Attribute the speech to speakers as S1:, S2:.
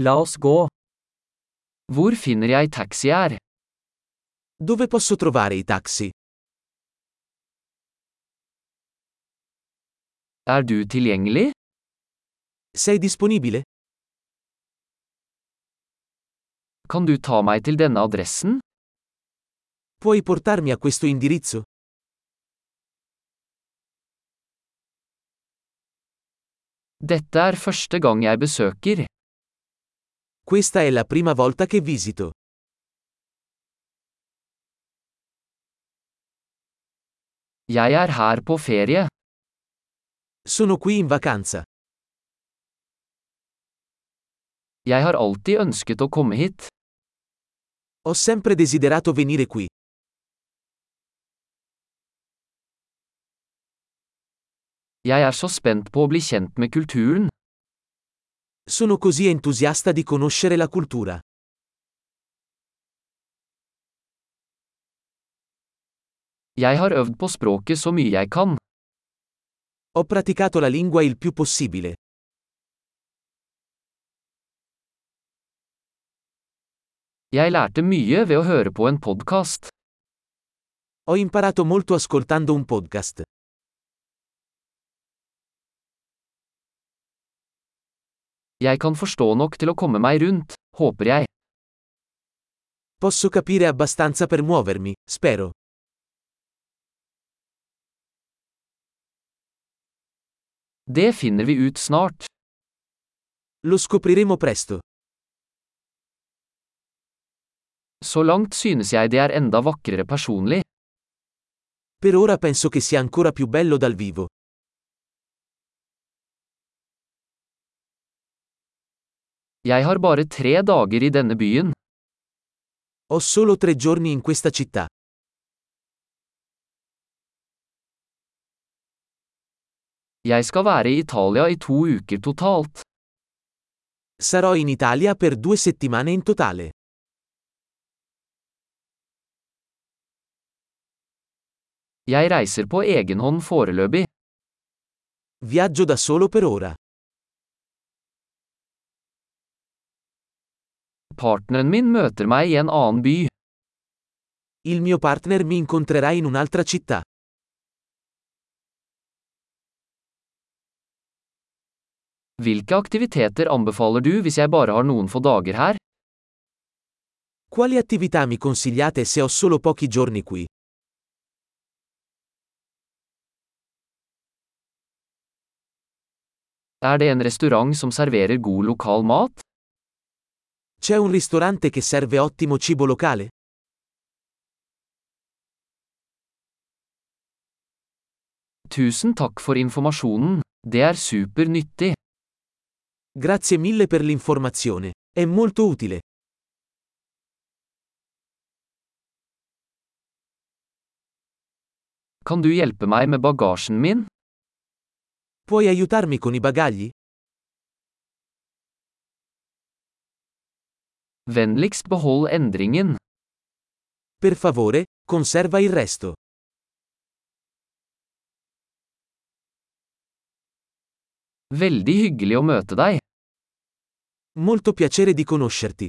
S1: La oss gå. Hvor finner jeg taxi her?
S2: Dove posso trovare i taxi?
S1: Er du tilgjengelig?
S2: Sei disponibile?
S1: Kan du ta meg til denne adressen?
S2: Puoi portarmi a questo indirizzo?
S1: Dette er første gang jeg besøker.
S2: Questa è la prima volta che visito.
S1: Jeg er her på ferie.
S2: Sono qui in vacanza.
S1: Jeg har alltid ønsket å komme hit.
S2: Ho sempre desiderato venire qui.
S1: Jeg er så spent på å bli kjent med kulturen.
S2: Sono così entusiasta di conoscere la cultura.
S1: Jeg har øvd på språket så mye jeg kan.
S2: Ho praticato la lingua il più possibile.
S1: Jeg lærte mye ved å høre på en podkast.
S2: Ho imparato molto ascoltando un podcast.
S1: Jeg kan forstå nok til å komme meg rundt, håper jeg.
S2: Posso capire abbastanza per muovermi, spero.
S1: Det finner vi ut snart.
S2: Lo scopriremo presto.
S1: Så langt synes jeg det er enda vakrere personlig.
S2: Per ora penso che sia ancora più bello dal vivo.
S1: Jeg har bare tre dager i denne byen.
S2: Ho solo tre giorni in questa città.
S1: Jeg skal være i Italia i to uker totalt.
S2: Sarò in Italia per due settimane in totale.
S1: Jeg reiser på egen hånd foreløpig.
S2: Viaggio da solo per ora.
S1: Partneren min møter meg i en annen by.
S2: Il mio partner mi incontrerà in un'altra città.
S1: Hvilke aktiviteter anbefaler du hvis jeg bare har noen få dager her?
S2: Quali attività mi consigliate se ho solo pochi giorni qui?
S1: Er det en restaurant som serverer god lokal mat?
S2: C'è un ristorante che serve ottimo cibo locale?
S1: Tusen takk for informasjonen. Det er supernyttig.
S2: Grazie mille per l'informazione. È molto utile.
S1: Kan du hjelpe meg med bagasjen min?
S2: Puoi aiutarmi con i bagagli?
S1: Vennligst behold endringen.
S2: Per favore, conserva il resto.
S1: Veldig hyggelig å møte deg.
S2: Molto piacere di conoscerti.